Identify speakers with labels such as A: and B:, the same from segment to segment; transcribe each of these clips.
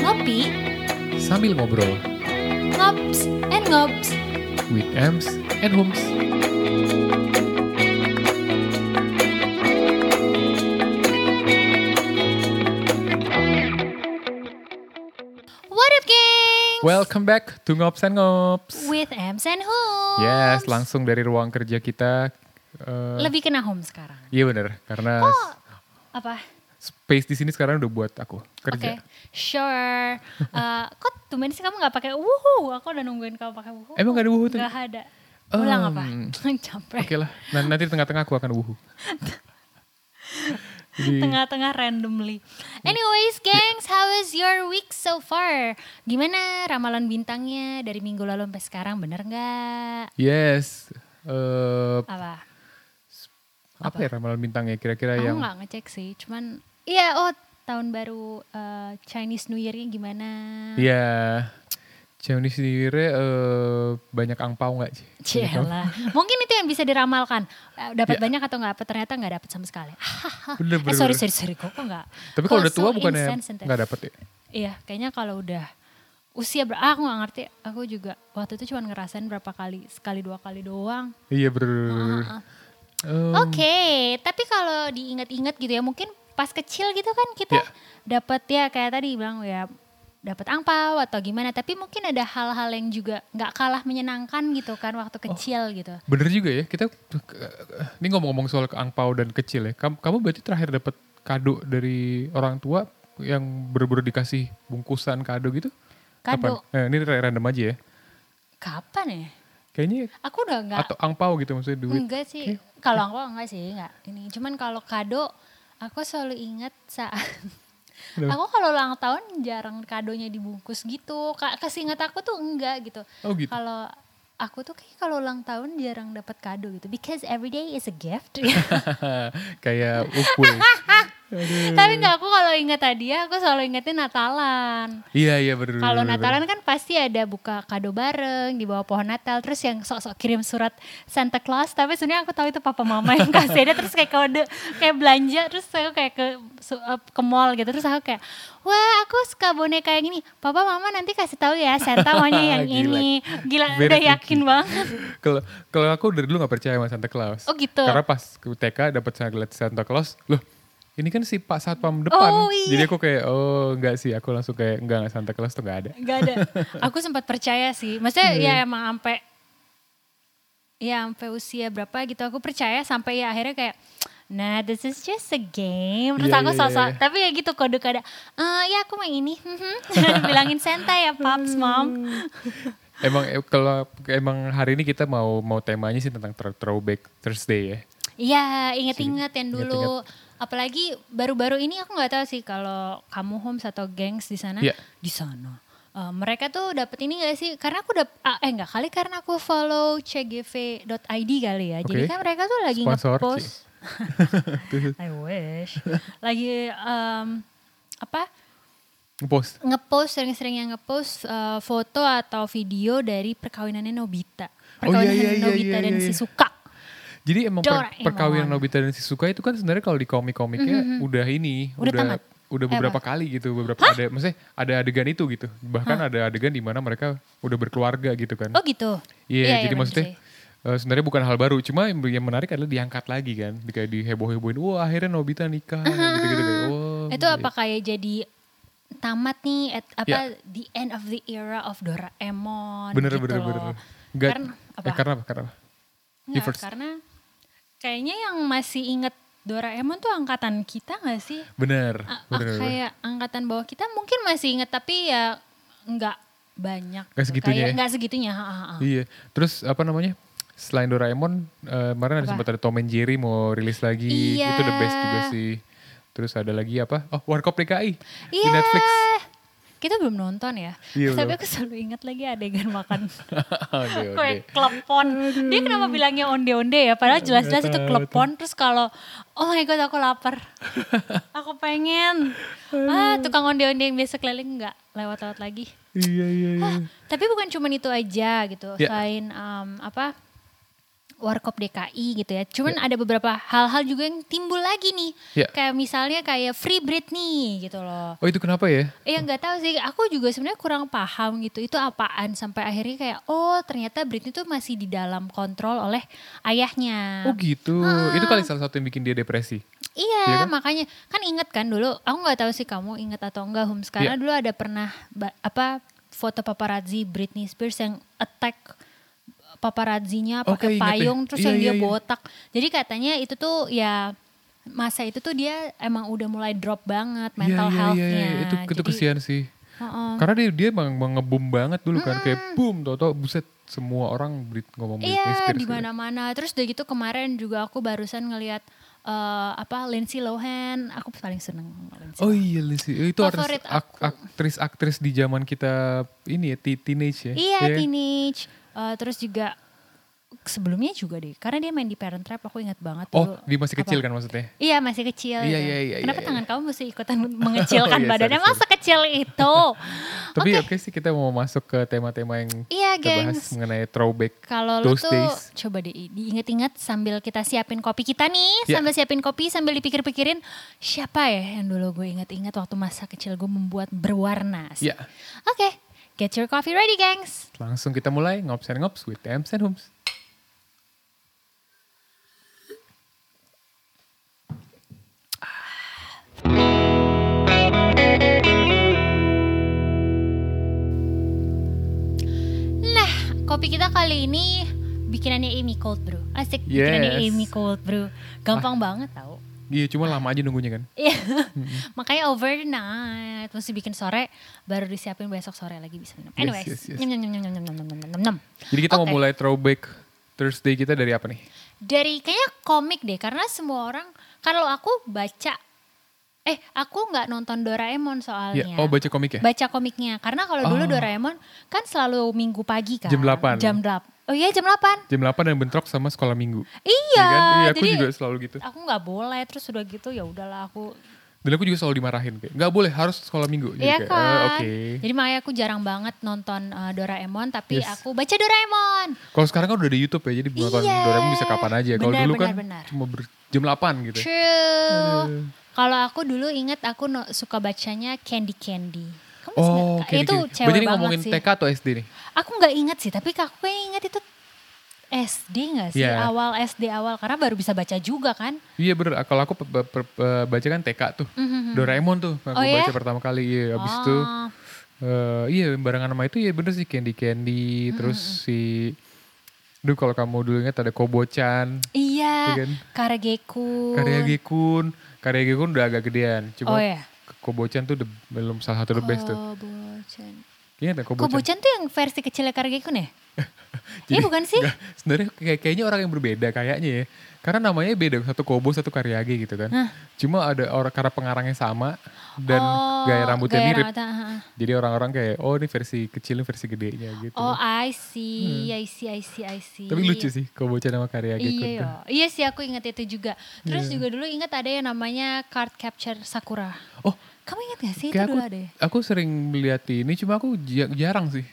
A: Ngopi,
B: Sambil ngobrol
A: ngops, and ngops.
B: with Ems and Hums.
A: What up, gang?
B: Welcome back to Ngops and Ngops.
A: With Ems and Homes.
B: Yes, langsung dari ruang kerja kita. Eh,
A: Lebih kena home sekarang.
B: Iya bener, karena
A: Oh, apa?
B: space di sini sekarang udah buat aku kerja.
A: Oke, sure. Eh, kok tumen sih kamu nggak pakai wuhu? Aku udah nungguin kamu pakai wuhu.
B: Emang nggak ada wuhu tadi?
A: Nggak ada. Ulang apa?
B: Oke
A: Capek.
B: lah, nah, nanti di tengah-tengah aku akan wuhu. Jadi,
A: Tengah-tengah randomly. Anyways, gengs, how is your week so far? Gimana ramalan bintangnya dari minggu lalu sampai sekarang? Bener nggak?
B: yes, eh,
A: Apa?
B: apa ya ramalan bintangnya kira-kira
A: Aku
B: yang
A: nggak ngecek sih, cuman iya oh tahun baru eh, Chinese New Year-nya gimana?
B: Ya, Chinese New Year eh, banyak angpau nggak sih?
A: Ciela. Mungkin itu yang bisa diramalkan. Eh, Dapat
B: Ya.
A: banyak atau nggak? Apa- Ternyata nggak dapat sama sekali.
B: Bener,
A: eh
B: bener,
A: sorry
B: bener.
A: sorry sorry kok kok nggak?
B: Tapi kalau udah
A: Oh, so
B: tua bukannya
A: insensitive.
B: nggak dapet ya?
A: Iya, kayaknya kalau udah usia ber ah, aku nggak ngerti. Aku juga waktu itu cuma ngerasain berapa kali, sekali dua kali doang.
B: Iya bener. bener, bener. Eh,
A: Oke, tapi kalau diingat-ingat gitu ya, mungkin pas kecil gitu kan kita
B: Ya.
A: dapat ya kayak tadi bilang ya dapat angpau atau gimana, tapi mungkin ada hal-hal yang juga nggak kalah menyenangkan gitu kan
B: Oh.
A: waktu kecil gitu.
B: Bener juga ya, kita ini ngomong-ngomong soal angpau dan kecil ya. Kamu, kamu berarti terakhir dapat kado dari orang tua yang berburu dikasih bungkusan kado gitu?
A: Kado.
B: Kapan? Eh, ini random aja ya.
A: Kan Kapan ya?
B: Kayaknya
A: Aku udah nggak
B: atau angpau gitu maksudnya duit.
A: enggak sih. Kalau aku enggak sih, enggak. Ini cuman kalau kado aku selalu ingat saat
B: Kenapa?
A: Aku kalau ulang tahun jarang kadonya dibungkus gitu. Ka- Kesingat aku tuh enggak gitu.
B: Oh gitu.
A: Kalau aku tuh kayak kalau ulang tahun jarang dapat kado gitu because every day is a gift. Hmm.
B: Kayak ukwe.
A: Tapi enggak aku kalau ingat tadi ya, aku selalu ingatnya Natalan.
B: iya iya bener.
A: Kalau
B: bener, bener.
A: Natalan kan pasti ada buka kado bareng di bawah pohon Natal, terus yang sok-sok kirim surat Santa Claus, tapi sebenarnya aku tahu itu papa mama yang kasih ada, terus kayak kode kayak belanja, terus aku kayak ke su- eh, ke mall gitu, terus aku kayak wah aku suka boneka yang ini, papa mama nanti kasih tahu ya Santa maunya yang
B: Gila.
A: ini, gila
B: Very
A: udah
B: tricky.
A: yakin banget.
B: Kalau kalau aku dari dulu nggak percaya sama Santa Claus.
A: Oh, gitu.
B: Karena pas ke TK dapat ngeliat Santa Claus, loh ini kan si Pak Satpam depan.
A: Oh, iya.
B: Jadi aku kayak oh nggak sih, aku langsung kayak enggak nggak Santa Claus tuh nggak ada. Iya.
A: Gak ada. Aku sempat percaya sih. Maksudnya ya emang sampai ya sampai usia berapa gitu aku percaya sampai ya akhirnya kayak nah this is just a game terus
B: Iya,
A: aku
B: iya,
A: sosok
B: iya.
A: tapi ya gitu kode kada eh ya aku main ini bilangin Santa ya paps mom
B: Emang eh, kalau emang hari ini kita mau mau temanya sih tentang throw- throwback Thursday ya.
A: Iya, inget-inget yang dulu.
B: ingat-ingat.
A: Apalagi baru-baru ini aku nggak tahu sih kalau kamu homes atau gengs di sana,
B: Iya.
A: di sana. Eh, mereka tuh dapet ini gak sih? Karena aku dap ah, eh nggak kali karena aku follow cgv.id kali ya. Jadi
B: Oke.
A: kan mereka tuh lagi
B: Sponsor,
A: ngepost.
B: Ci.
A: I wish. lagi em, apa?
B: Ngepost.
A: Ngepost sering-sering yang ngepost eh, foto atau video dari perkawinannya Nobita.
B: Oh, iya,
A: Perkawinan
B: iya, iya,
A: Nobita
B: iya,
A: dan
B: iya, iya.
A: si Suka.
B: Jadi emang per-
A: Doraemon.
B: perkawinan Nobita dan Shizuka itu kan sebenarnya kalau di komik-komiknya udah ini,
A: Mhm, Udah tamat.
B: udah
A: Eh,
B: beberapa kali gitu, beberapa ada maksudnya ada adegan itu gitu. Bahkan ada adegan di mana mereka udah berkeluarga gitu kan.
A: Oh gitu.
B: Iya,
A: bener
B: jadi maksudnya
A: sih.
B: eh, sebenarnya bukan hal baru, cuma yang yang menarik adalah diangkat lagi kan, di- kayak diheboh-hebohin, wah akhirnya Nobita nikah, gitu-gitu Oh, iya. kayak, wah.
A: Itu apa kayak jadi tamat nih at- apa
B: Ya.
A: the end of the era of Doraemon
B: Bener,
A: gitu
B: bener,
A: loh.
B: bener. Nggak-
A: Karena
B: eh,
A: apa?
B: karena apa? Karena apa?
A: Nggak,
B: Diverse.
A: karena kayaknya yang masih inget Doraemon tuh angkatan kita gak sih?
B: Bener,
A: A- a-
B: bener. bener.
A: Ah, kayak angkatan bawah kita mungkin masih inget tapi ya nggak banyak.
B: Nggak
A: gitu.
B: segitunya
A: Kayak
B: ya?
A: nggak segitunya. ha, ha, ha.
B: Iya, terus apa namanya? Selain Doraemon, eh, kemarin
A: Apa?
B: ada sempat ada Tom and Jerry mau rilis lagi,
A: Iya.
B: itu the best juga sih. Terus ada lagi apa? Oh, Warkop
A: Iya.
B: DKI di Netflix.
A: Kita belum nonton ya.
B: Iya,
A: Tapi
B: belum.
A: aku selalu ingat lagi adegan makan
B: Onde,
A: kue
B: onde.
A: klepon. Dia kenapa bilangnya onde-onde ya? Padahal jelas-jelas itu klepon. Terus kalau oh my god aku lapar. aku pengen. Ah tukang onde-onde yang biasa keliling nggak lewat-lewat lagi.
B: Iya iya iya.
A: Ah, tapi bukan cuman itu aja gitu.
B: Ya.
A: Selain em, apa Warkop DKI gitu ya. Cuman ada beberapa hal-hal juga yang timbul lagi nih.
B: Ya.
A: Kayak misalnya kayak Free Britney gitu loh.
B: Oh itu kenapa ya?
A: Eh nggak tahu sih, aku juga sebenarnya kurang paham gitu. Itu apaan sampai akhirnya kayak oh ternyata Britney tuh masih di dalam kontrol oleh ayahnya.
B: Oh gitu.
A: Ah.
B: Itu kali salah satu yang bikin dia depresi. iya
A: Iya,
B: kan?
A: makanya kan inget kan dulu, aku nggak tahu sih kamu inget atau enggak Hums karena
B: Iya.
A: dulu ada pernah ba- apa foto paparazzi Britney Spears yang attack paparazzinya
B: Oke,
A: pakai
B: ingat deh.
A: payung terus
B: Iya,
A: yang
B: iya,
A: dia
B: iya.
A: botak. Jadi katanya itu tuh ya masa itu tuh dia emang udah mulai drop banget
B: Iya,
A: mental
B: iya, iya,
A: health-nya.
B: iya. Itu itu
A: Jadi- Oh.
B: kesian sih.
A: Heeh.
B: Karena dia dia emang emang ngebum banget dulu kan kayak boom tau-tau buset semua orang Brit ngomong Britney
A: Iya
B: Spears.
A: di mana-mana. Terus udah gitu kemarin juga aku barusan ngelihat eh, apa Lindsay Lohan. Aku paling seneng Lindsay.
B: Oh iya Lizzy, itu artis,
A: Favorit
B: ak- aktris-aktris di zaman kita ini ya, ti- teenage ya.
A: Iya
B: kan?
A: teenage. Eh, terus juga sebelumnya juga deh. Karena dia main di Parent Trap aku ingat banget.
B: Oh,
A: dulu.
B: dia masih
A: Apa?
B: kecil kan maksudnya?
A: Iya masih kecil.
B: Iya,
A: gitu.
B: iya, iya,
A: Kenapa
B: iya,
A: tangan kamu mesti ikutan mengecilkan
B: Oh, iya,
A: badannya?
B: sorry, sorry.
A: Masa kecil itu? Oh,
B: Tapi oke sih kita mau masuk ke tema-tema yang
A: Iya
B: kita bahas
A: gengs.
B: mengenai throwback.
A: Kalau lu
B: Those
A: tuh
B: days.
A: coba deh diinget-inget sambil kita siapin kopi kita nih,
B: Ya.
A: sambil siapin kopi sambil dipikir-pikirin siapa ya yang dulu gue inget-inget waktu masa kecil gue membuat berwarna.
B: Ya,
A: Oke, get your coffee ready, gengs.
B: langsung kita mulai ngops and ngops with Ems and Homes.
A: Nah, kopi kita kali ini bikinannya Amy Cold Brew. Asik
B: Yes. Ah.
A: bikinannya Amy Cold Brew. Gampang banget tau.
B: Iya, cuma lama aja nunggunya kan.
A: Iya. Makanya overnight mesti bikin sore baru disiapin besok sore lagi bisa minum.
B: Yes,
A: Anyways,
B: yes, yes.
A: nyam, nyam, nyam, nyam, nyam, nyam, nyam, nyam, nyam.
B: Jadi kita mau
A: Oke.
B: mulai throwback Thursday kita dari apa nih?
A: dari kayaknya komik deh karena semua orang kalau aku baca eh aku nggak nonton Doraemon
B: Ya,
A: soalnya
B: oh baca komik ya?
A: baca komiknya karena kalau dulu
B: Oh.
A: Doraemon kan selalu minggu pagi kan
B: Jam 8.
A: jam 8 oh iya jam 8
B: Jam 8 dan bentrok sama sekolah minggu.
A: iya
B: kan? Iya, aku
A: jadi
B: juga selalu gitu.
A: aku nggak boleh terus udah gitu ya udahlah aku
B: Dan aku juga selalu dimarahin kayak, "Nggak boleh, harus sekolah minggu." Jadi
A: Iya
B: kayak,
A: kan.
B: "Ah, Oke.
A: Jadi makanya aku jarang banget nonton uh, Doraemon tapi
B: Yes.
A: aku baca Doraemon.
B: Kalau sekarang kan udah di YouTube ya, jadi nonton
A: Iya.
B: Doraemon bisa kapan aja. Kalau
A: Benar,
B: dulu kan
A: benar, benar.
B: cuma ber- jam 8 gitu.
A: True. Kalau aku dulu ingat aku no- suka bacanya Candy Candy. Kamu masih
B: Oh,
A: ingat?
B: oke.
A: itu
B: oke.
A: cewek
B: Berarti ini
A: banget
B: ngomongin
A: sih.
B: TK atau SD nih?
A: Aku nggak ingat sih, tapi aku kayaknya ingat itu SD nggak sih?
B: Iya.
A: Awal SD awal karena baru bisa baca juga kan?
B: Iya bener, kalau aku pe- pe- pe- pe- baca kan TK tuh, Doraemon tuh aku
A: Mm-hmm, Oh, iya?
B: baca pertama kali, iya abis
A: Oh.
B: itu eh, iya barengan sama itu ya bener sih Candy Candy,
A: Mm-hmm,
B: terus si, duh kalau kamu dulu ingat ada Kobocan,
A: Iya.
B: Iya kan?
A: Karageku.
B: Karya Gekun, Karya Gekun udah agak gedean,
A: Oh
B: cuma
A: ya.
B: Kobocan tuh the- belum salah satu the best tuh,
A: Kobocan.
B: ingat ya Kobocan?
A: Kobocan tuh yang versi kecilnya Karageku nih? Iya bukan sih?
B: Nggak, sebenarnya kayak kayaknya orang yang berbeda kayaknya ya. Karena namanya beda, satu Kobo, satu Karyage gitu kan. Cuma ada orang karena pengarangnya sama dan
A: Oh,
B: gaya rambutnya
A: gaya
B: mirip.
A: rambutnya, ha, ha.
B: Jadi orang-orang kayak oh ini versi kecilnya versi gedenya gitu. Hmm.
A: Oh, I see, I see, I see, I see.
B: Tapi lucu sih Kobo-chan sama Karyage
A: Oh, Iya,
B: Kun.
A: yo. iya sih aku ingat itu juga.
B: Iya.
A: Terus juga dulu ingat ada yang namanya card capture Sakura.
B: Oh,
A: Kamu ingat gak sih itu
B: kayak aku
A: dulu ada ya?
B: aku sering melihat ini cuma aku ja- jarang sih.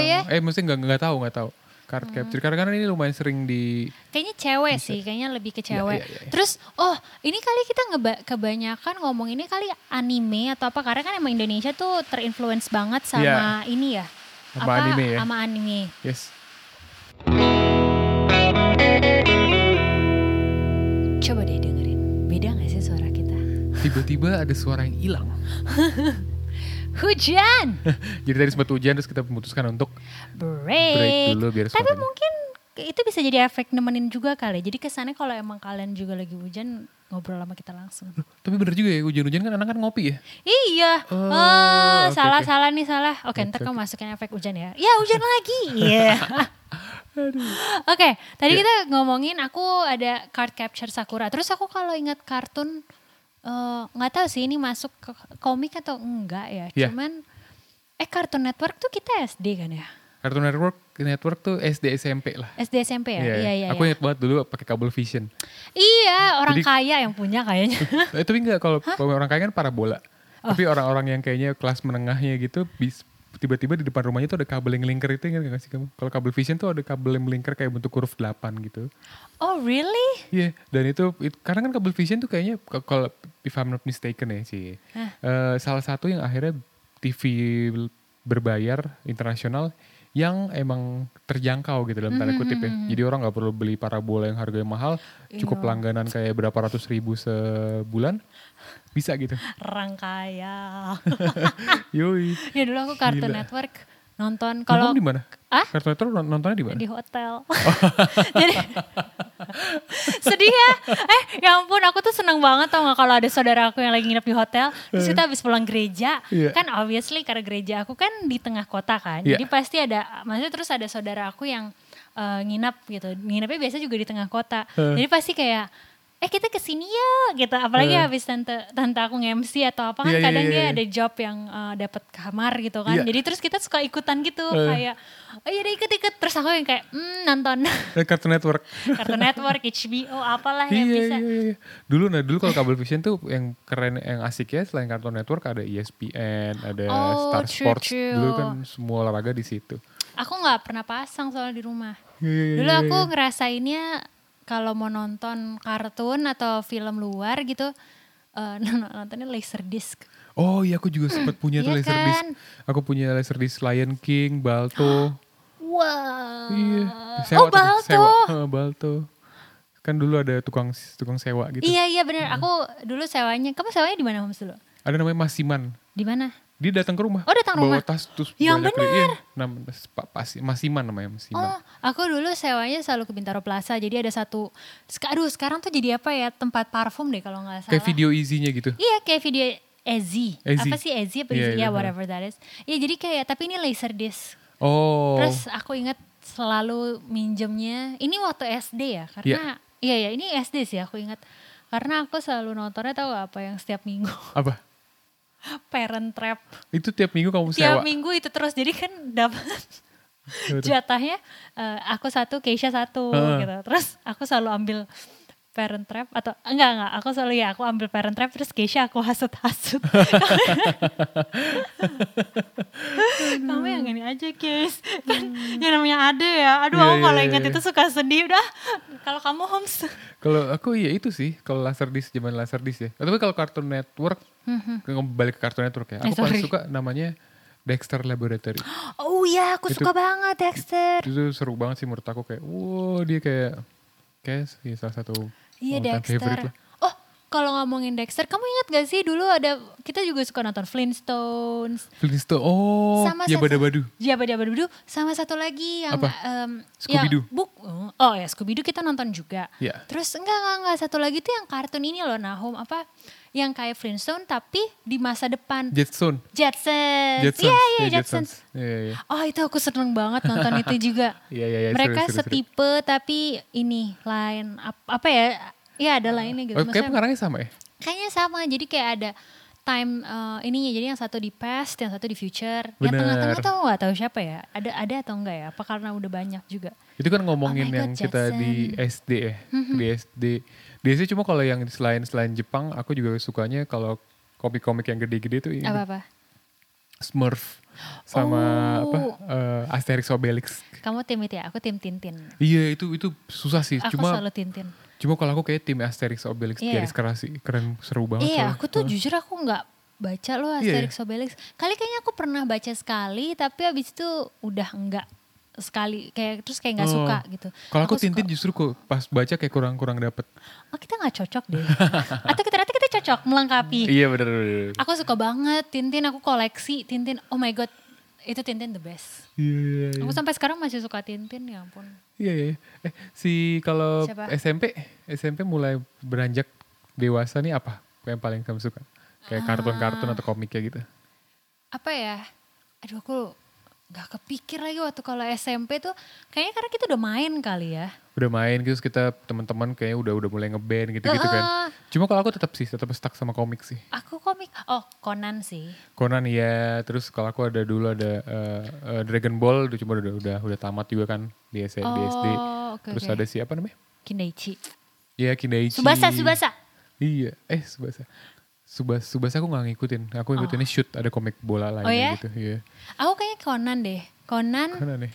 A: Oh, iya? Hmm.
B: Eh mesti nggak nggak tahu nggak tahu. Card capture karena karena ini lumayan sering di
A: Kayaknya cewek sih, kayaknya lebih ke cewek.
B: iya, iya, iya.
A: Terus, oh ini kali kita ngeba- kebanyakan ngomong ini kali anime atau apa. Karena kan emang Indonesia tuh terinfluence banget sama ini ya.
B: Iya. Sama anime ya.
A: Sama anime.
B: yes.
A: Coba deh dengerin, beda gak sih suara kita?
B: Tiba-tiba ada suara yang hilang.
A: Hujan!
B: Jadi tadi sempat hujan terus kita memutuskan untuk
A: break.
B: Break dulu biar
A: Tapi
B: suaranya-
A: mungkin itu bisa jadi efek nemenin juga kali. Jadi kesannya kalau emang kalian juga lagi hujan ngobrol sama kita langsung.
B: Tapi bener juga ya hujan-hujan kan anak kan ngopi ya.
A: Iya.
B: Oh,
A: Oh,
B: oke,
A: salah
B: oke.
A: salah nih salah. Oke, ntar kamu masukin efek hujan ya. Ya hujan lagi. Iya. Oke, tadi
B: Iya.
A: kita ngomongin aku ada card capture Sakura. Terus aku kalau ingat kartun eh, nggak tahu sih ini masuk ke komik atau enggak ya.
B: Iya.
A: Cuman Eh Cartoon Network tuh kita SD kan ya?
B: Cartoon Network Network tuh SD SMP lah.
A: SD SMP ya?
B: Iya,
A: Iya, iya.
B: Aku
A: iya.
B: ingat banget dulu pakai kabel vision.
A: Iya, orang
B: Jadi-
A: kaya yang punya kayaknya.
B: Eh, Tapi enggak kalau orang kaya kan parabola.
A: Oh.
B: Tapi orang-orang yang kayaknya kelas menengahnya gitu bis- tiba-tiba di depan rumahnya tuh ada kabel yang melingkar itu ingat gak sih kamu? Kalau kabel vision tuh ada kabel yang melingkar kayak bentuk huruf 8 gitu.
A: Oh really?
B: Iya, dan itu, it- karena kan kabel vision tuh kayaknya k- kalau if I'm not mistaken ya sih.
A: Hah.
B: eh, salah satu yang akhirnya TV berbayar internasional yang emang terjangkau gitu dalam
A: Hmm,
B: tanda kutip ya. Jadi orang nggak perlu beli parabola yang harganya mahal,
A: Iya.
B: cukup langganan kayak berapa ratus ribu sebulan bisa gitu.
A: Orang kaya.
B: Yoi.
A: ya dulu aku Cartoon
B: Gila.
A: Network nonton
B: Kalau
A: kalau
B: di mana?
A: Ah?
B: Kartu Network non- nontonnya di mana?
A: di hotel. Jadi sedih ya. Eh ya ampun aku tuh seneng banget tau gak kalau ada saudara aku yang lagi nginep di hotel. Terus kita habis pulang gereja.
B: Eh. Iya.
A: Kan obviously karena gereja aku kan di tengah kota kan.
B: Iya.
A: Jadi pasti ada, maksudnya terus ada saudara aku yang eh, nginep gitu. Nginepnya biasa juga di tengah kota. Jadi pasti kayak eh kita kesini ya gitu apalagi
B: Eh.
A: habis tante tante aku nge-MC atau apa kan
B: Iya, iya,
A: kadang
B: iya,
A: dia
B: iya.
A: ada job yang eh, dapat kamar gitu kan
B: Iya.
A: jadi terus kita suka ikutan gitu kayak oh iya deh ikut-ikut terus aku yang kayak hmm, nonton
B: Eh, Cartoon Network.
A: Cartoon Network, HBO, apalah yang
B: iya,
A: bisa.
B: Iya, iya. Dulu nah dulu kalau kabel vision tuh yang keren yang asik ya selain Cartoon Network ada ESPN, ada
A: Oh,
B: Star
A: true,
B: Sports.
A: true.
B: Dulu kan semua olahraga di situ.
A: Aku nggak pernah pasang soal di rumah.
B: Iya, iya,
A: Dulu
B: iya,
A: aku
B: iya.
A: ngerasainnya kalau mau nonton kartun atau film luar gitu, eh, nontonnya Laserdisc.
B: Oh iya aku juga sempat punya tuh
A: Iya
B: Laserdisc.
A: kan?
B: Aku punya Laserdisc Lion King, Balto.
A: Wow.
B: iya.
A: oh,
B: tuh, Sewa.
A: Balto.
B: Heeh, Balto. Kan dulu ada tukang tukang sewa gitu.
A: Iya, iya bener. Aku dulu sewanya, kamu sewanya di mana Homs dulu?
B: Ada namanya Mas Siman.
A: Di mana?
B: Dia datang ke rumah.
A: Oh, datang
B: bawa
A: rumah.
B: tas terus
A: Yang
B: banyak duit. Iya, nam- Pak- Pak Si- Mas Siman namanya Mas Siman.
A: Oh, aku dulu sewanya selalu ke Bintaro Plaza. Jadi ada satu, sek- aduh sekarang tuh jadi apa ya, tempat parfum deh kalau nggak salah.
B: Kayak video easy-nya gitu.
A: Iya kayak video Ezi.
B: Ezi.
A: Apa sih Ezi apa
B: Iya,
A: Ezi? Ya
B: iya, iya.
A: whatever that is. Iya jadi kayak tapi ini laser disc.
B: Oh.
A: Terus aku ingat selalu minjemnya. Ini waktu SD ya karena iya ya ini SD sih aku ingat. Karena aku selalu nontonnya tahu nggak apa yang setiap minggu
B: Apa?
A: Parent Trap.
B: Itu tiap minggu kamu sewa.
A: Tiap minggu itu terus jadi kan dapat
B: Betul.
A: jatahnya eh, aku satu Keisha satu
B: Heeh.
A: gitu. Terus aku selalu ambil Parent Trap atau enggak enggak aku selalu ya aku ambil Parent Trap terus Keisha aku hasut-hasut. Kamu yang ini aja Keis. Kan yang namanya Ade ya. Aduh aku
B: Hmm. Iya, iya,
A: kalau
B: iya,
A: ingat
B: iya.
A: itu suka sedih udah. Kalau kamu Homs.
B: Kalau aku ya itu sih, kalau Laserdisc zaman Laserdisc ya. Tapi kalau Cartoon Network, kembali ke Cartoon Network ya.
A: Mm-hmm. Eh,
B: Aku paling
A: sorry.
B: suka namanya Dexter Laboratory.
A: Oh iya aku
B: Itu-
A: suka banget Dexter.
B: Itu seru banget sih menurut aku kayak, wow dia kayak kayak ya, salah satu
A: Iya
B: all time
A: Dexter.
B: favorite lah.
A: Oh kalau ngomongin Dexter, kamu ingat gak sih dulu ada kita juga suka nonton Flintstones,
B: Flintstone, oh
A: Sama
B: ya
A: satu-
B: badu-badu.
A: Jaba Jaba Dudu sama satu lagi yang
B: Apa?
A: em,
B: Scooby-Doo.
A: yang buk oh ya Scooby Doo kita nonton juga.
B: Iya.
A: Terus enggak enggak enggak satu lagi tuh yang kartun ini loh Nahum apa yang kayak Flintstone tapi di masa depan
B: Jetson.
A: Jetsons.
B: Jetsons.
A: Iya iya
B: Ya,
A: Jetsons.
B: Iya, iya.
A: Oh itu aku seneng banget nonton itu juga.
B: Iya, iya, iya,
A: Mereka
B: seru, seru, seru.
A: setipe tapi ini lain ap- apa ya? Iya ada lainnya gitu.
B: Oh,
A: Maksudnya-
B: kayak pengarangnya sama ya?
A: Kayaknya sama, jadi kayak ada time eh, ininya. Jadi yang satu di past, yang satu di future. Yang
B: Bener.
A: tengah-tengah tahu nggak tahu siapa ya? Ada ada atau enggak ya? Apa karena udah banyak juga?
B: Itu kan
A: Oh
B: ngomongin
A: my God, Mm-hmm.
B: yang kita di SD ya, di SD. Di SD cuma kalau yang selain selain Jepang, aku juga sukanya kalau komik-komik yang gede-gede tuh ini
A: Apa-apa?
B: Smurf sama
A: Oh.
B: apa eh, Asterix Obelix.
A: Kamu tim itu ya? Aku tim Tintin.
B: Iya itu itu susah sih.
A: Aku
B: Iya, cuma
A: selalu Tintin.
B: cuma kalau aku kayak tim Asterix Obelix
A: Iya.
B: garis keras sih, keren seru banget.
A: Iya,
B: soalnya.
A: aku tuh
B: Heeh.
A: jujur aku nggak baca loh
B: Iya,
A: Asterix Obelix. Kali kayaknya aku pernah baca sekali, tapi abis itu udah enggak sekali kayak terus kayak nggak
B: Oh.
A: suka gitu.
B: Kalau aku,
A: suka-
B: Tintin justru kok pas baca kayak kurang-kurang dapet.
A: oh, kita nggak cocok deh. Atau kita nanti kita cocok melengkapi.
B: Iya bener, bener, bener.
A: Aku suka banget Tintin, aku koleksi Tintin. Oh my god, itu Tintin the best.
B: Iya, iya, iya.
A: Aku sampai sekarang masih suka Tintin, ya ampun.
B: Iya, iya. Eh, si kalau
A: Siapa?
B: SMP, SMP mulai beranjak dewasa nih apa yang paling
A: Ah.
B: kamu suka? Kayak kartun-kartun atau komiknya gitu.
A: Apa ya? Aduh aku Gak kepikir lagi waktu kalau SMP tuh kayaknya karena kita udah main kali ya.
B: udah main gitu terus kita teman-teman kayaknya udah udah mulai ngeband gitu gitu kan
A: Heeh.
B: cuma kalau aku tetap sih tetap stuck sama komik sih
A: Aku komik, oh Conan sih.
B: Conan ya terus kalau aku ada dulu ada eh, eh, Dragon Ball itu cuma udah udah udah tamat juga kan di S- di SD
A: Oh, oke,
B: terus
A: oke.
B: ada siapa namanya
A: Kindaichi.
B: ya Kindaichi
A: Subasa, Subasa.
B: iya eh Subasa Subasa, Subasa aku nggak ngikutin aku ngikutinnya shoot ada komik bola lainnya
A: Oh, ya?
B: gitu iya
A: Aku kayaknya Conan deh. Conan
B: Conan nih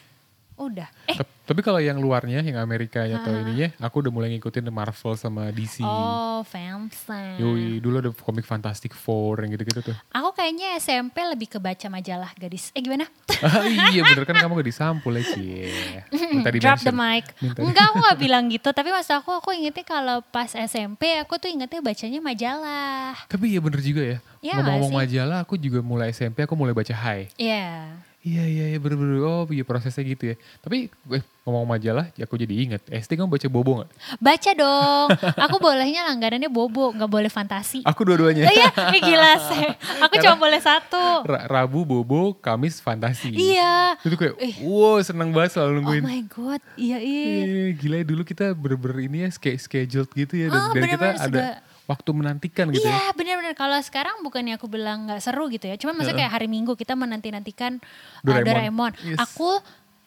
A: udah. Eh,
B: Tep- tapi kalau yang luarnya yang Amerikanya atau ininya aku udah mulai ngikutin Marvel sama DC
A: oh fansen.
B: Yoi, dulu ada komik Fantastic Four yang gitu-gitu tuh.
A: Aku kayaknya SMP lebih ke baca majalah gadis. Eh gimana?
B: Ah, iya bener kan kamu gak disampul ya Cie. Minta di
A: Drop the
B: mention.
A: mic.
B: Minta di-
A: Enggak, aku gak bilang gitu. Tapi mas aku, aku ingetnya kalau pas SMP aku tuh ingetnya bacanya majalah.
B: Tapi iya bener juga ya.
A: Iya gak
B: Ngomong-ngomong
A: sih?
B: majalah aku juga mulai SMP aku mulai baca Hai.
A: Iya.
B: Iya iya iya bener-bener. Oh iya prosesnya gitu ya. Tapi eh, ngomong majalah ya aku jadi inget. SD kamu baca Bobo gak?
A: Baca dong. Aku bolehnya langganannya bobo, nggak boleh fantasi.
B: Aku dua-duanya.
A: Oh iya, eh, gila sih. Aku cuma boleh satu.
B: Ra- Rabu Bobo, Kamis Fantasi.
A: Iya.
B: Itu kayak
A: Ih.
B: wow seneng banget selalu
A: Oh
B: nungguin.
A: my god, iya iya.
B: Eh, gila ya dulu kita bener-bener ini ya ske- scheduled gitu ya.
A: Oh,
B: Dan, dan kita
A: bener-bener
B: ada
A: sudah-
B: waktu menantikan gitu ya.
A: Iya bener-bener kalau sekarang bukannya aku bilang nggak seru gitu ya. Cuman maksudnya kayak hari Minggu kita menanti-nantikan uh,
B: Doraemon.
A: Doraemon.
B: Yes.
A: Aku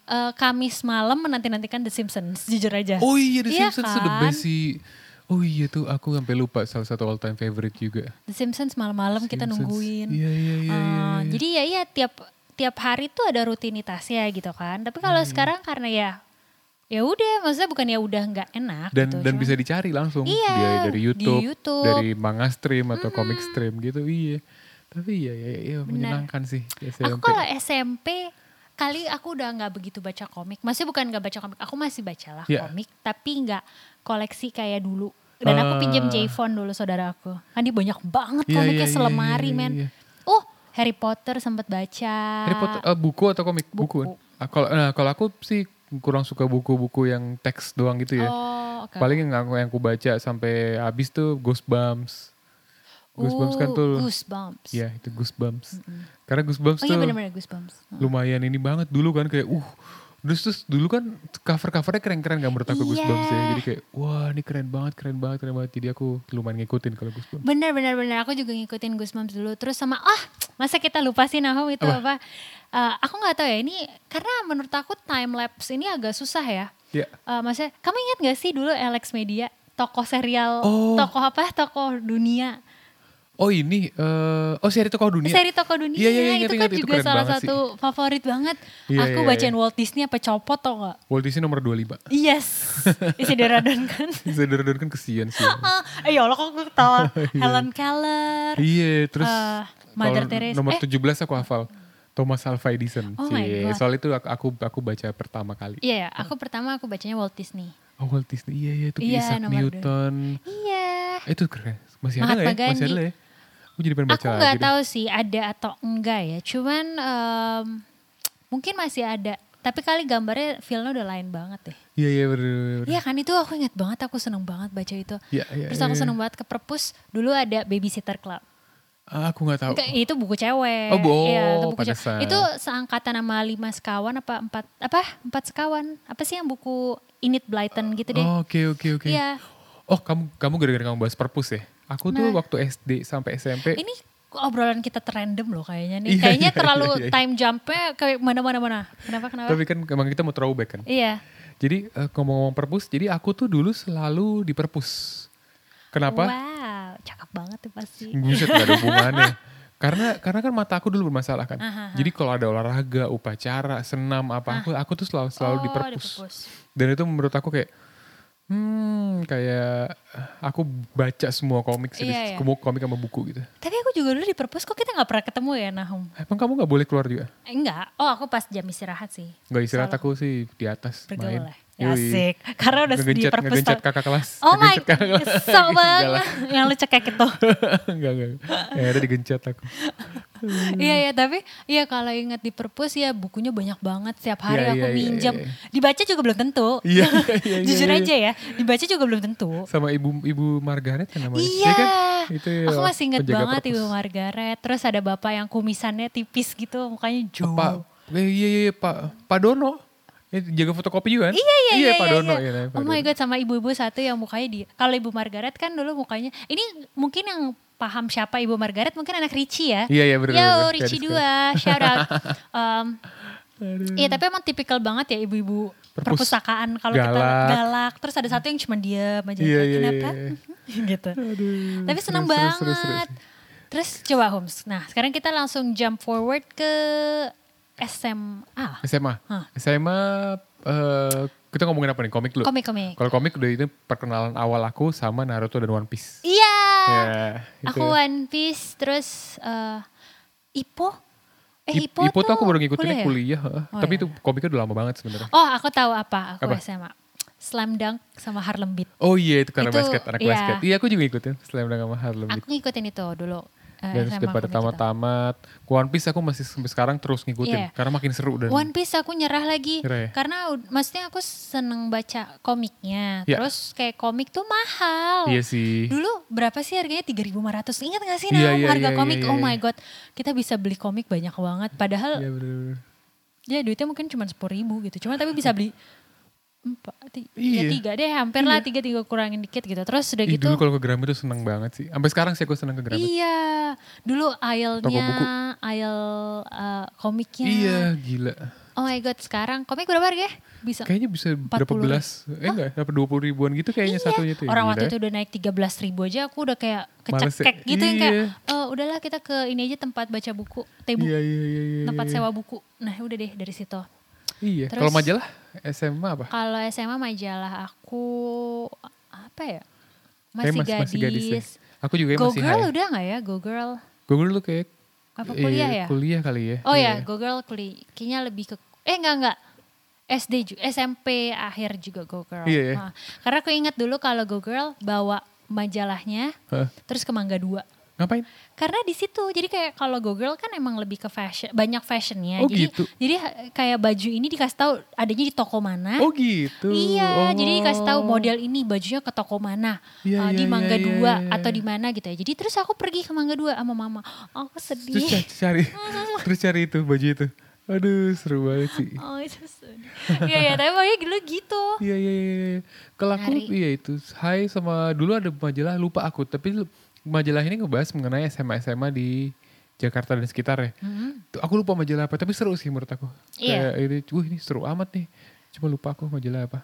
A: uh, Kamis malam menanti-nantikan The Simpsons, jujur aja.
B: Oh iya The
A: Iya
B: Simpsons tuh the
A: kan?
B: best sih. Oh iya tuh aku sampai lupa salah satu all time favorite juga.
A: The Simpsons malam-malam kita
B: Simpsons.
A: nungguin.
B: Iya, iya, iya,
A: Uh,
B: iya, iya.
A: Jadi ya iya tiap tiap hari tuh ada rutinitasnya gitu kan. Tapi kalau
B: Hmm.
A: sekarang karena ya ya udah maksudnya bukan ya udah nggak enak
B: Dan
A: gitu.
B: dan
A: Cuman-
B: bisa dicari langsung
A: Iya,
B: Dia dari
A: di
B: YouTube,
A: YouTube.
B: dari manga stream atau comic stream gitu. Iya. Tapi iya iya, iya menyenangkan sih
A: Aku
B: SMP.
A: kalau SMP kali aku udah nggak begitu baca komik. Maksudnya bukan nggak baca komik, aku masih bacalah
B: Iya.
A: komik, tapi nggak koleksi kayak dulu. Dan aku pinjam
B: Ah.
A: J-Phone dulu saudara aku. Kan dia banyak banget
B: Iya,
A: komiknya
B: iya, iya,
A: selemari
B: iya, iya.
A: men. Oh Harry Potter sempat baca.
B: Harry Potter, eh, buku atau komik? Buku.
A: Buku.
B: Ah, Kalau nah, kalau aku sih kurang suka buku-buku yang teks doang gitu ya.
A: Oh, oke.
B: Paling yang aku yang aku baca sampai habis tuh Goosebumps. Goosebumps kan
A: Oh,
B: tuh.
A: Goosebumps.
B: Iya, itu Goosebumps. Karena Goosebumps
A: Oh iya Mm.
B: tuh
A: benar-benar Goosebumps.
B: lumayan ini banget dulu kan kayak uh terus terus dulu kan cover covernya keren keren gak menurut aku
A: Iya.
B: Goosebumps ya jadi kayak wah ini keren banget keren banget keren banget jadi aku lumayan ngikutin kalau Goosebumps
A: Bener bener bener aku juga ngikutin Goosebumps dulu terus sama ah masa kita lupa sih Nahum itu apa, Eh, aku nggak tahu ya ini karena menurut aku time lapse ini agak susah ya
B: ya
A: Eh, maksudnya kamu ingat gak sih dulu Alex Media tokoh serial
B: Oh.
A: tokoh apa tokoh dunia
B: oh ini eh oh seri tokoh dunia
A: seri tokoh dunia
B: Iya, iya, iya,
A: itu
B: ingat,
A: kan
B: ingat, itu
A: juga
B: keren
A: salah
B: banget
A: satu favorit banget
B: Iya,
A: aku
B: iya, iya.
A: bacain Walt Disney apa copot tau gak
B: Walt Disney nomor 25
A: yes Isidora Duncan
B: Zedder kan kesian sih
A: eh ya Allah kok aku ketawa Helen Keller
B: iya terus
A: Eh, Mother
B: kalau
A: Teresa.
B: nomor
A: Eh.
B: 17 aku hafal Thomas Alva Edison
A: Oh my
B: Cie,
A: God.
B: soal itu aku, aku aku baca pertama kali
A: Iya, aku pertama aku bacanya Walt Disney.
B: oh Walt Disney iya iya itu
A: Iya,
B: Isaac
A: nomor dua.
B: Newton
A: Iya.
B: Eh, itu keren masih ada
A: Mahatma
B: nggak ya masih ada
A: Gandhi.
B: nggak ya aku jadi pengen baca
A: Aku
B: lagi
A: nggak
B: deh.
A: tahu sih ada atau enggak ya. Cuman em, mungkin masih ada. Tapi kali gambarnya filmnya udah lain banget deh.
B: Iya iya bener, bener, bener.
A: Iya kan itu aku ingat banget aku seneng banget baca itu.
B: Iya, iya,
A: Terus aku
B: iya.
A: seneng banget ke perpus dulu ada Babysitter Club.
B: Ah, Aku nggak tahu.
A: Enggak, itu buku cewek.
B: Oh, bu-
A: Iya, itu
B: oh,
A: buku cewek.
B: pantesan.
A: Itu seangkatan sama lima sekawan apa empat apa empat sekawan apa sih yang buku Init Blyton gitu deh.
B: Oh, Oke oke oke.
A: Iya.
B: Oh kamu kamu gara-gara kamu bahas perpus ya? Aku tuh
A: Nah.
B: waktu SD sampai SMP.
A: Ini obrolan kita terandom loh kayaknya nih.
B: eh. Iya,
A: kayaknya
B: iya,
A: terlalu
B: iya, iya.
A: time jumpnya ke mana-mana mana. Kenapa kenapa?
B: Tapi kan emang kita mau throwback kan.
A: iya.
B: Jadi eh, ngomong-ngomong perpus, jadi aku tuh dulu selalu di perpus. Kenapa?
A: Wow, cakep banget tuh pasti.
B: Buset gak ada hubungannya. Karena karena kan mata aku dulu bermasalah kan.
A: Aha,
B: Jadi kalau ada olahraga, upacara, senam apa aku aku tuh selalu selalu di
A: Oh,
B: perpus. Dan itu menurut aku kayak hmm kayak aku baca semua komik sih,
A: Iya, iya.
B: semua komik sama buku gitu.
A: Tapi aku juga dulu di perpus kok kita nggak pernah ketemu ya Nahum?
B: Emang kamu nggak boleh keluar juga?
A: Eh, Enggak. Oh aku pas jam istirahat sih.
B: Nggak istirahat aku sih di atas
A: Bergaul
B: main.
A: lah. Asik. Karena udah di
B: Ngegencet-
A: perpus.
B: ngegencet
A: tau-
B: kakak kelas.
A: Oh my
B: Ngegencet kakak
A: god,
B: kelas.
A: kesel
B: Di jalan.
A: banget. Yang gitu. lu cekek itu.
B: enggak, enggak. Ya, ada digencet aku. Hmm.
A: Iya ya tapi iya kalau ingat di perpus ya bukunya banyak banget setiap hari
B: Iya,
A: aku
B: iya, iya,
A: minjem.
B: iya.
A: Dibaca juga belum tentu.
B: Iya, iya, iya,
A: Jujur
B: iya.
A: aja ya, dibaca juga belum tentu.
B: Sama ibu ibu Margaret kan namanya.
A: Iya.
B: kan? Itu
A: aku masih inget
B: penjaga
A: banget
B: perpus.
A: Ibu Margaret. Terus ada bapak yang kumisannya tipis gitu, mukanya jauh.
B: Pak Eh, iya, iya, iya, Pak, Pak Dono. Eh, jaga fotokopi juga
A: Iya
B: kan?
A: iya iya.
B: Pak
A: iya,
B: Dono.
A: iya.
B: Iya, Pak
A: Oh my
B: Dono.
A: god sama ibu-ibu satu yang mukanya dia. Kalau ibu Margaret kan dulu mukanya. Ini mungkin yang paham siapa ibu Margaret mungkin anak Ricci ya.
B: Iya, iya, bener, bener,
A: Yo
B: bener.
A: Ricci
B: Gadis
A: dua shout out. Um,
B: Aduh.
A: Iya tapi emang tipikal banget ya ibu-ibu
B: Perpus-
A: perpustakaan kalau kita
B: galak.
A: galak terus ada satu yang cuma diam aja
B: Iya,
A: kayak,
B: iya,
A: kenapa
B: iya,
A: gitu
B: Aduh,
A: tapi senang
B: seru,
A: banget
B: seru, seru, seru.
A: terus coba Homs nah sekarang kita langsung jump forward ke SMA
B: SMA.
A: Hah.
B: SMA eh, kita ngomongin apa nih? Komik dulu.
A: komik-komik
B: Kalau komik udah itu perkenalan awal aku sama Naruto dan One Piece.
A: iya
B: Ya, itu.
A: aku One Piece terus eh, Ipo eh
B: I-
A: Ipo,
B: tuh aku baru ngikutinnya
A: ya?
B: kuliah. heeh.
A: Oh,
B: Tapi
A: iya.
B: itu komiknya udah lama banget sebenarnya.
A: oh aku tahu apa aku
B: Apa?
A: SMA Slam Dunk sama Harlem Beat
B: Oh iya itu karena
A: Itu,
B: basket, anak
A: iya.
B: basket. Iya aku juga ikutin Slam Dunk sama Harlem Beat.
A: aku ngikutin itu dulu eh,
B: Dan
A: SMA
B: sudah pada
A: komik itu.
B: tamat-tamat. One Piece aku masih sampai sekarang terus
A: Iya.
B: ngikutin. Karena makin seru dan
A: One Piece aku nyerah lagi
B: Nyerah ya?
A: karena ud- maksudnya aku seneng baca komiknya.
B: Ya.
A: Terus kayak komik tuh mahal.
B: iya sih.
A: Dulu berapa sih harganya 3.500? Ingat gak sih
B: Iya,
A: Naum,
B: iya,
A: harga
B: iya,
A: komik?
B: iya,
A: Oh
B: iya.
A: my god, kita bisa beli komik banyak banget. Padahal
B: Iya bener-bener.
A: ya duitnya mungkin cuma 10.000 gitu. Cuma tapi bisa beli empat, ti- ya,
B: Iya.
A: tiga deh, hampir lah tiga tiga kurangin dikit gitu. Terus udah
B: Ih,
A: gitu,
B: dulu kalau ke Gramet tuh seneng banget sih. Sampai sekarang sih aku seneng ke Gramet.
A: iya. Dulu aisle-nya,
B: buku.
A: aisle eh, komiknya.
B: Iya, gila.
A: Oh my god, sekarang komik berapa harga? Bisa
B: Kayaknya bisa
A: 40
B: berapa belas, eh enggak, berapa dua puluh ribuan gitu kayaknya
A: Iya,
B: satunya tuh. ya,
A: Orang
B: gila
A: waktu
B: ya.
A: itu udah naik 13 ribu aja aku udah kayak
B: Males ya?
A: kecekek gitu yang kayak
B: Iya.
A: "Eh, udahlah kita ke ini aja tempat baca buku, tebu,
B: Iya, iya, iya, iya.
A: tempat
B: iya.
A: sewa buku. Nah udah deh dari situ.
B: Iya,
A: Terus-
B: kalau majalah SMA apa?
A: Kalau SMA majalah aku apa ya?
B: Kayak
A: Masih,
B: mas-
A: gadis.
B: masih gadis ya. Aku juga
A: Go
B: masih
A: Girl
B: high.
A: udah gak ya? Go Girl.
B: Gue dulu kayak
A: Apa
B: eh,
A: kuliah ya?
B: Kuliah kali ya.
A: Oh
B: Iya.
A: ya, Go Girl kuliah. Kayaknya lebih ke eh enggak enggak. SD juga, SMP akhir juga Go Girl.
B: Iya, iya.
A: Nah, karena aku ingat dulu kalau Go Girl bawa majalahnya
B: Hah,
A: terus ke Mangga 2.
B: ngapain?
A: Karena di situ, jadi kayak kalau Go Girl kan emang lebih ke fashion, banyak fashionnya.
B: Oh,
A: jadi,
B: gitu.
A: jadi ha- kayak baju ini dikasih tahu adanya di toko mana.
B: Oh gitu.
A: Iya,
B: Oh.
A: jadi dikasih tahu model ini bajunya ke toko mana,
B: Iya,
A: eh, di
B: iya,
A: Mangga
B: iya, iya,
A: Dua
B: iya.
A: atau di mana gitu ya. Jadi terus aku pergi ke Mangga Dua sama mama. Oh, Aku
B: Terus
A: sedih.
B: ca- cari, terus cari itu baju itu. Aduh, seru banget sih.
A: Oh itu sedih. Iya, iya, tapi pokoknya dulu gitu.
B: Iya iya iya. iya. Kalau aku
A: Nyari.
B: iya itu Hai sama dulu ada majalah lupa aku tapi lu- majalah ini ngebahas mengenai SMA SMA di Jakarta dan sekitarnya. Tuh, Aku lupa majalah apa tapi seru sih menurut aku.
A: Hmm. Iya.
B: Kayak ini, wah ini seru amat nih. Cuma lupa aku majalah apa.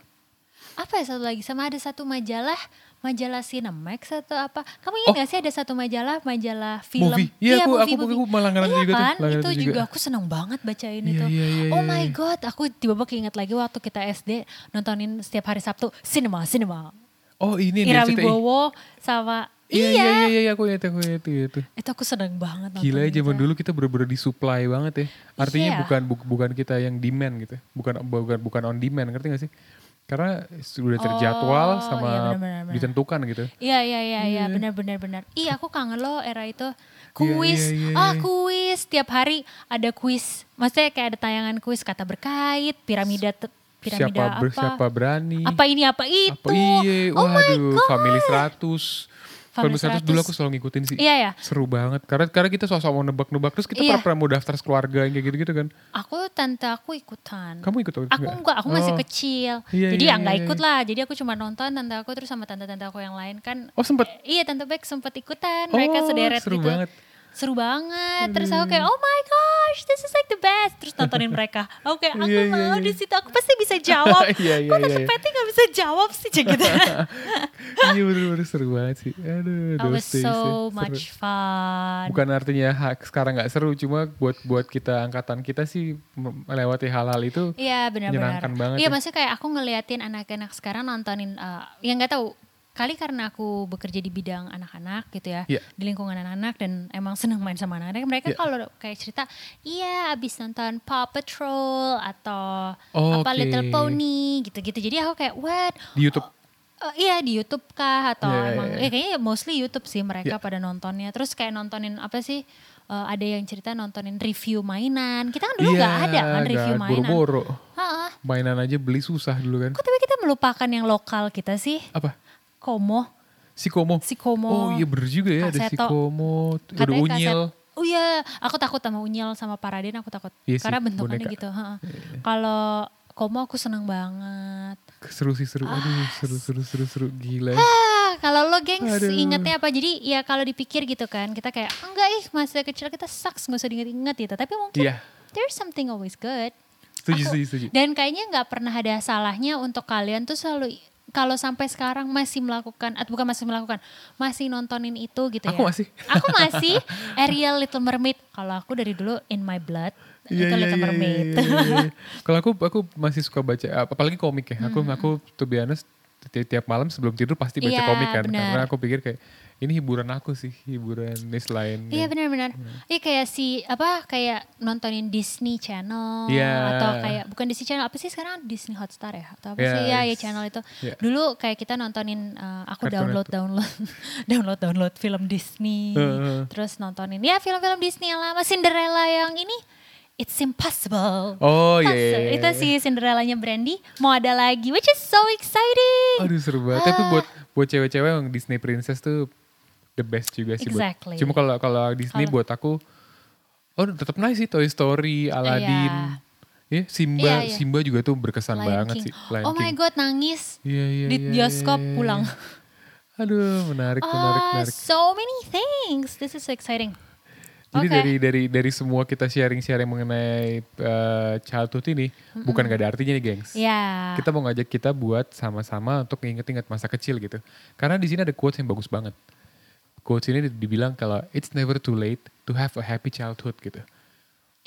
A: Apa ya satu lagi? Sama ada satu majalah, majalah Cinemax atau apa. Kamu ingat
B: Oh.
A: gak sih ada satu majalah, majalah film?
B: Movie. Iya, aku- aku- aku malah ngarang
A: Iya
B: juga tuh,
A: kan,
B: ngarang
A: itu
B: itu
A: juga.
B: juga.
A: aku seneng banget bacain
B: Iya,
A: itu.
B: iya, iya,
A: oh
B: iya,
A: my
B: iya.
A: God, aku tiba-tiba keinget lagi waktu kita SD nontonin setiap hari Sabtu, Cinema, Cinema.
B: Oh ini
A: Ira
B: DCTI.
A: Wibowo sama,
B: Iya
A: iya.
B: iya iya iya aku ingat aku ingat itu.
A: Itu aku seneng banget nonton.
B: Gila ya zaman
A: itu.
B: dulu kita bener-bener disuplai banget ya. Artinya
A: Iya.
B: bukan bu- bukan kita yang demand gitu. Bukan bukan bukan on demand, ngerti gak sih? Karena sudah
A: Oh,
B: terjadwal
A: iya
B: sama
A: benar, benar, benar.
B: ditentukan gitu.
A: Iya iya iya iya benar benar benar. Iya aku kangen loh era itu. Kuis,
B: iya, iya,
A: ah
B: iya.
A: kuis tiap hari ada kuis. Maksudnya kayak ada tayangan kuis kata berkait, piramida te- piramida
B: siapa
A: apa?
B: ber- siapa berani?
A: Apa ini apa itu?
B: Apa iye?
A: oh my
B: Waduh,
A: god.
B: family 100. Family
A: Family
B: 100 dulu aku selalu ngikutin sih.
A: Iya ya.
B: Seru banget. Karena karena kita sosok mau nebak-nebak terus kita
A: Iya.
B: pernah mau daftar keluarga kayak gitu-gitu kan.
A: Aku tante aku ikutan.
B: Kamu ikut atau
A: Aku enggak, aku masih
B: Oh.
A: kecil.
B: Iya,
A: Jadi
B: iya,
A: ya enggak
B: iya,
A: ikut lah. Jadi aku cuma nonton tante aku terus sama tante-tante aku yang lain kan.
B: Oh, sempet.
A: Iya, tante Beck sempat ikutan. Mereka
B: Oh,
A: sederet
B: seru
A: gitu.
B: banget. Hmm.
A: Seru banget. Terus aku kayak oh my gosh, this is like the best. Terus nontonin mereka. Oke, aku
B: Iya, iya,
A: mau
B: iya.
A: di situ. Aku pasti bisa jawab.
B: Iya, iya,
A: Kok tante
B: iya, iya.
A: Betty nggak bisa jawab sih Cek, gitu.
B: Iya bener-bener seru banget sih. Aduh,
A: That was
B: those days ya.
A: so
B: Seru.
A: much fun.
B: Bukan artinya ha- sekarang nggak seru, cuma buat buat kita angkatan kita sih me- melewati hal-hal itu.
A: Iya benar-benar.
B: Menyenangkan banget
A: Iya
B: ya.
A: maksudnya kayak aku ngeliatin anak-anak sekarang nontonin, eh, ya nggak tahu kali karena aku bekerja di bidang anak-anak gitu ya,
B: Iya.
A: di lingkungan anak-anak dan emang seneng main sama anak-anak. Mereka
B: Iya.
A: kalau kayak cerita, iya abis nonton Paw Patrol atau apa
B: Oke.
A: Little Pony gitu-gitu. Jadi aku kayak what?
B: Di YouTube.
A: Eh, iya di YouTube kah atau
B: Iya,
A: emang
B: iya,
A: ya kayaknya mostly YouTube sih mereka
B: Iya.
A: pada nontonnya. Terus kayak nontonin apa sih? eh, ada yang cerita nontonin review mainan. Kita kan dulu nggak ada kan review
B: Iya, nggak,
A: mainan.
B: Boro-boro.
A: Hah?
B: Mainan aja beli susah dulu kan.
A: Kok tapi kita melupakan yang lokal kita sih?
B: Apa?
A: Komo,
B: Si Komo.
A: si Komo.
B: Oh iya bener juga ya ada si
A: Kaseto.
B: Komo. Ada
A: Katanya
B: Unyil.
A: kaset- oh iya aku takut sama unyil sama paraden aku takut
B: Iya sih,
A: karena bentukannya
B: boneka. Iya,
A: gitu heeh. kalau komo aku seneng banget
B: Seru sih seru. Aduh, seru seru seru seru gila.
A: Ah, kalau lo gengs
B: Aduh.
A: ingetnya apa? Jadi ya kalau dipikir gitu kan, kita kayak enggak ih masa kecil kita sucks nggak usah diinget-inget gitu. Tapi mungkin
B: Iya.
A: there's something always good.
B: Setuju
A: Aku-
B: setuju setuju.
A: Dan kayaknya nggak pernah ada salahnya untuk kalian tuh selalu kalau sampai sekarang masih melakukan atau bukan masih melakukan masih nontonin itu gitu ya.
B: Aku masih.
A: Aku masih Ariel Little Mermaid. Kalau aku dari dulu in my blood itu
B: Iya, iya,
A: Little
B: iya,
A: Mermaid.
B: iya, iya, iya. Kalau aku aku masih suka baca ap- apalagi komik ya. Aku aku to be honest ti- tiap malam sebelum tidur pasti baca
A: Hmm. Iya,
B: komik kan.
A: benar.
B: Karena aku pikir kayak ini hiburan aku sih, hiburan ini selain
A: Iya benar-benar.
B: Hmm.
A: Iya kayak si apa kayak nontonin Disney Channel
B: Iya.
A: atau kayak bukan Disney Channel apa sih sekarang Disney Hotstar ya atau apa
B: Iya,
A: sih ya ya
B: it's-
A: channel itu.
B: iya.
A: Dulu kayak kita nontonin eh, aku
B: Cartoon
A: download download download download film Disney
B: Heeh.
A: terus nontonin ya film-film Disney yang lama Cinderella yang ini It's impossible.
B: Oh, iya,
A: Impossible.
B: iya, iya,
A: Itu
B: iya.
A: si Cinderellanya Brandy mau ada lagi which is so exciting.
B: Aduh seru banget.
A: Ah.
B: Tapi buat buat cewek-cewek yang Disney Princess tuh the best juga sih. buat-
A: Exactly.
B: Cuma kalau kalau Disney buat aku, oh tetap nice sih Toy Story, Aladdin, ya Simba,
A: Iya, iya.
B: Simba juga tuh berkesan
A: Lion
B: banget
A: King.
B: sih. Lion
A: oh my
B: King.
A: god nangis
B: Iya, iya,
A: di
B: iya,
A: bioskop
B: iya, iya.
A: pulang.
B: Aduh menarik, menarik,
A: Ah,
B: menarik.
A: so many things. This is so exciting.
B: Jadi
A: Oke.
B: dari dari dari semua kita sharing-sharing mengenai eh, childhood ini bukan gak ada artinya nih, gengs.
A: Ya.
B: Kita mau ngajak kita buat sama-sama untuk nginget-inget masa kecil gitu. Karena di sini ada quotes yang bagus banget. Quotes ini dibilang kalau it's never too late to have a happy childhood gitu.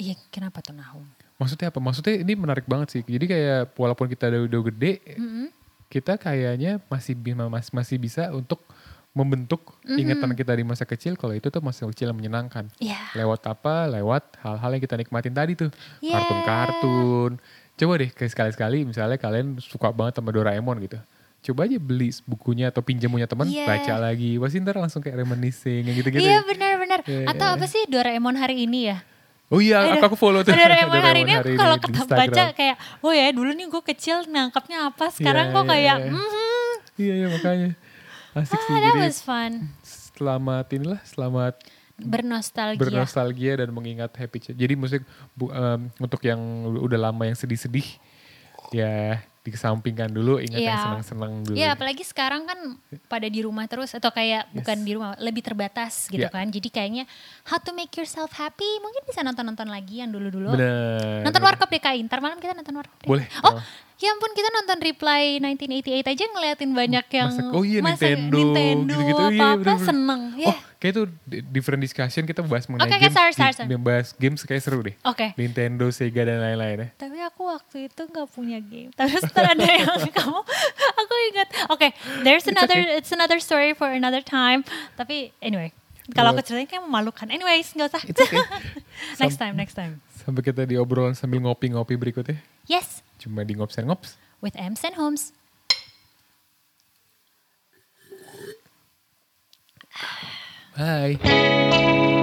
A: Iya, kenapa tuh Nahum?
B: Maksudnya apa? Maksudnya ini menarik banget sih. Jadi kayak walaupun kita udah, udah gede, kita kayaknya masih bi- mas- masih bisa untuk membentuk ingatan kita di masa kecil kalau itu tuh masa kecil yang menyenangkan.
A: Iya.
B: Lewat apa? Lewat hal-hal yang kita nikmatin tadi tuh.
A: Yeah.
B: Kartun-kartun. Coba deh kayak sekali-sekali misalnya kalian suka banget sama Doraemon gitu. Coba aja beli bukunya atau pinjam punya teman,
A: Yeah.
B: baca lagi. Pasti ntar langsung kayak reminiscing yang gitu-gitu.
A: Iya
B: ya.
A: benar-benar.
B: Iya,
A: Atau apa sih Doraemon hari ini ya?
B: Oh iya, aku, aku follow tuh.
A: Doraemon hari ini aku kalau
B: di
A: ketemu
B: Instagram.
A: baca kayak, oh ya dulu nih gue kecil nangkapnya apa, sekarang
B: Iya,
A: gue
B: iya,
A: kayak,
B: iya.
A: hmm,
B: Iya, iya makanya. Asik sih.
A: ah that
B: Jadi
A: was fun.
B: selamat inilah, selamat
A: Bernostalgia.
B: bernostalgia dan mengingat happy. ch- Jadi musik untuk yang udah lama yang sedih-sedih ya dikesampingkan dulu, ingat yang
A: Iya.
B: senang-senang dulu.
A: Iya, apalagi sekarang kan pada di rumah terus atau kayak bukan di rumah, lebih terbatas gitu
B: Iya.
A: kan. Jadi kayaknya how to make yourself happy mungkin bisa nonton-nonton lagi yang dulu-dulu.
B: Bener.
A: Nonton Warkop DKI, ntar malam kita nonton Warkop DKI.
B: Boleh.
A: Oh, ya ampun kita nonton Reply 1988 aja ngeliatin banyak yang
B: Masa- oh iya
A: masa
B: Nintendo,
A: Nintendo
B: gitu-gitu. Iya,
A: apa-apa
B: bener-bener.
A: seneng. ya.
B: Oh, kayak itu di- different discussion kita bahas mengenai
A: Oke, oke,
B: game,
A: sorry, sorry,
B: game-
A: sorry.
B: game- bahas games kayak seru deh.
A: Oke.
B: Nintendo, Sega dan lain-lain ya.
A: Tapi aku waktu itu nggak punya game. Terus ntar ada yang kamu, aku ingat. Oke, there's another,
B: okay.
A: it's another story for another time. Tapi anyway, kalau aku ceritain kayak memalukan. Anyways, nggak usah. next time, next time.
B: Sampai kita di obrolan sambil ngopi-ngopi berikutnya.
A: Yes,
B: Cuma di ngops and ngops.
A: with Ems and Holmes.
B: Bye.